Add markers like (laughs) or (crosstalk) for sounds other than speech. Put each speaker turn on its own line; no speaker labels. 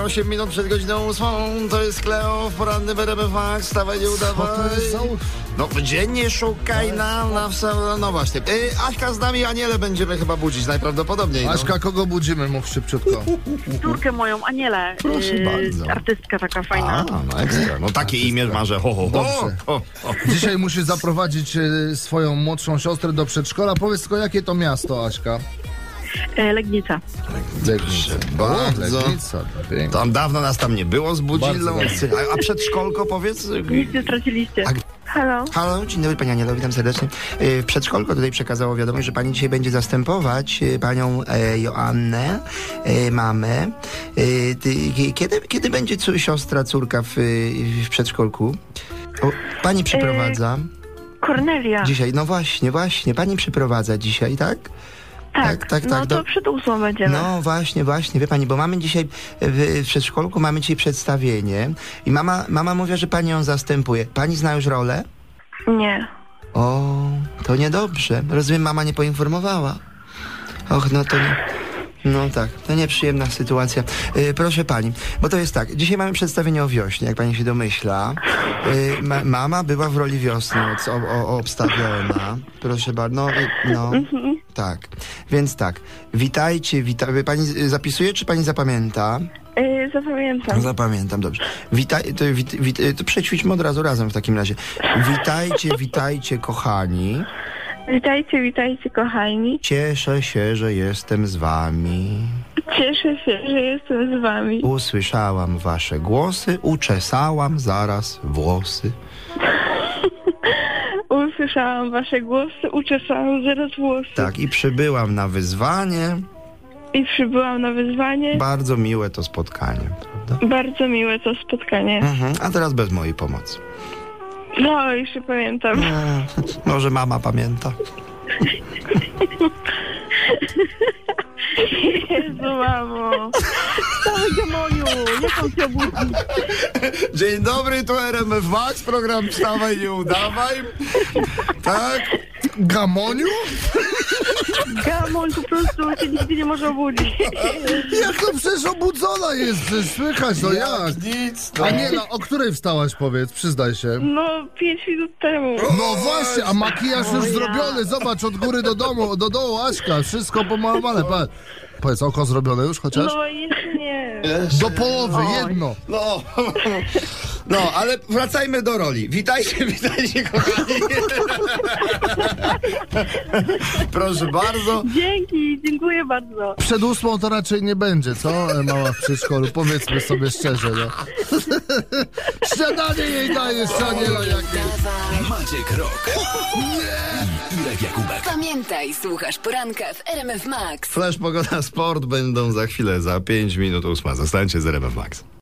8 minut przed godziną 8. To jest Kleo w poranny BRB Fax. Stawaj, nie udawaj.
to jest za u-
No, dziennie szukaj na, na, na, no właśnie. Y, Aśka z nami, Aniele będziemy chyba budzić najprawdopodobniej. No.
Aśka, kogo budzimy? Mów szybciutko.
Córkę moją, Anielę.
Mm.
y,
Proszę bardzo.
Artystka taka
A,
fajna.
no ekstra. No takie imię ma, że ho, ho, ho.
Dobrze.
ho, ho.
Dzisiaj musisz zaprowadzić e, swoją młodszą siostrę do przedszkola. Powiedz tylko, jakie to miasto, Aśka?
E, Legnica.
Legnica.
bardzo.
Legnica. no pięknie.
Tam dawno nas tam nie było z
Bardzo
budzilą.
dobrze.
A, a przedszkolko powiedz?
Nic nie straciliście.
A g-
Halo.
Halo, dzień dobry Pani Anielo, witam serdecznie. Yy, Przedszkolko tutaj przekazało wiadomość, że Pani dzisiaj będzie zastępować yy, Panią e, Joannę, e, mamę. E, ty- ki- Kiedy, kiedy będzie cu- siostra, córka w, y, w przedszkolku? O, pani przyprowadza
Kornelia.
dzisiaj, no właśnie, właśnie, Pani przyprowadza dzisiaj, tak?
tak,
tak, tak,
No
tak,
to
do-
przed ósmą będziemy.
No właśnie, właśnie, wie pani, bo mamy dzisiaj e, w, w przedszkolku mamy dzisiaj przedstawienie i mama, mama mówi, że pani ją zastępuje. Pani zna już rolę?
Nie.
O, to niedobrze. Rozumiem, mama nie poinformowała. Och, no to nie. No tak, to nieprzyjemna sytuacja. Y, proszę pani, bo to jest tak, dzisiaj mamy przedstawienie o wiośnie, jak pani się domyśla. Y, ma, mama była w roli wiosny od, o, o, obstawiona. Proszę bardzo, no, y, no, tak. Więc tak, witajcie, witaj. Pani y, zapisuje, czy pani zapamięta?
E, zapamiętam.
Zapamiętam, dobrze. Witaj, to, wit, wit, y, to przećwiczmy od razu razem w takim razie. Witajcie, witajcie, kochani.
Witajcie, witajcie kochani.
Cieszę się, że jestem z wami.
Cieszę się, że jestem z wami.
Usłyszałam wasze głosy, uczesałam zaraz włosy.
Usłyszałam wasze głosy, uczesałam zaraz włosy
Tak, i przybyłam na wyzwanie.
i przybyłam na wyzwanie.
Bardzo miłe to spotkanie, prawda?
Bardzo miłe to spotkanie.
Mhm, a teraz bez mojej pomocy.
No, jeszcze pamiętam.
E, może mama pamięta.
Jezu, mamo. Cały demoniu, jaką cię obudzi.
Dzień dobry, tu RMF Max, program Wstawaj nie udawaj. Tak?
Gamoniu?
Gamon po prostu się nigdy nie może obudzić.
Jak to przecież obudzona jest? Przecież Słychać to jak?
nic, no.
Aniela, o której wstałaś, powiedz, przyznaj się.
No, pięć minut temu.
No właśnie, a makijaż już
ja.
zrobiony, zobacz, od góry do domu, do dołu, Aśka, wszystko pomalowane. Pa- Powiedz, oko zrobione już chociaż?
No, jeszcze nie.
Do połowy,
Oj.
jedno.
No, no, ale wracajmy do roli. Witajcie, witajcie, kochani. Proszę bardzo.
Dzięki, dziękuję bardzo.
Przed ósmą to raczej nie będzie, co e, mała w przedszkolu? Powiedzmy sobie szczerze, no. (laughs) Śniadanie jej dajesz, Aniela, jakie.
Maciek Rok. I Irek Jakubek.
Pamiętaj, słuchasz poranka w RMF Max.
Flash Pogoda Sport będą za chwilę, za 5 minut ósma. Zostańcie z RMF Max.